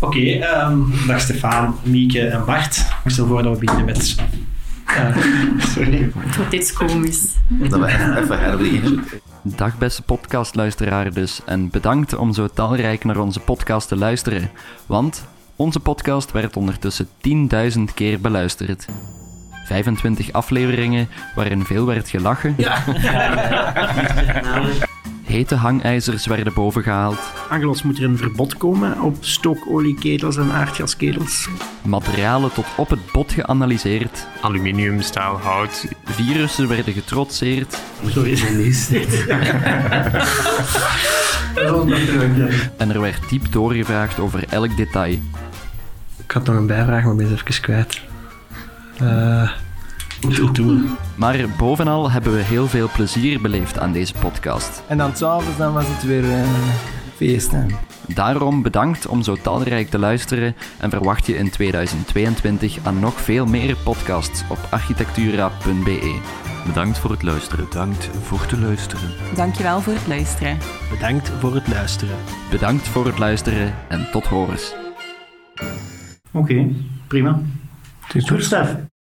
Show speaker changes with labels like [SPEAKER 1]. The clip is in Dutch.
[SPEAKER 1] Oké, ehm, dag Stefan, Mieke en Bart. Ik stel voor dat we beginnen met... eh, sorry.
[SPEAKER 2] Het wordt iets komisch.
[SPEAKER 3] Dat we even hebben beginnen.
[SPEAKER 4] Dag beste podcastluisteraar dus en bedankt om zo talrijk naar onze podcast te luisteren, want onze podcast werd ondertussen 10.000 keer beluisterd. 25 afleveringen waarin veel werd gelachen. Hete hangijzers werden bovengehaald.
[SPEAKER 5] Angelos moet er een verbod komen op stookolieketels en aardgasketels.
[SPEAKER 4] Materialen tot op het bot geanalyseerd.
[SPEAKER 6] aluminium, staal, hout.
[SPEAKER 4] Virussen werden getrotseerd.
[SPEAKER 5] Zo is het niet.
[SPEAKER 4] En er werd diep doorgevraagd over elk detail.
[SPEAKER 5] Ik had nog een bijvraag, maar ben ze even kwijt. Eh,
[SPEAKER 4] Maar bovenal hebben we heel veel plezier beleefd aan deze podcast.
[SPEAKER 7] En dan s'avonds dan was het weer eh, feest. Hè.
[SPEAKER 4] Daarom bedankt om zo talrijk te luisteren en verwacht je in 2022 aan nog veel meer podcasts op architectura.be.
[SPEAKER 8] Bedankt voor het luisteren. Bedankt voor te luisteren.
[SPEAKER 2] Dankjewel voor het luisteren.
[SPEAKER 5] bedankt voor het luisteren.
[SPEAKER 4] Bedankt voor het luisteren en tot horens.
[SPEAKER 1] Oké, prima. Goed, Stef.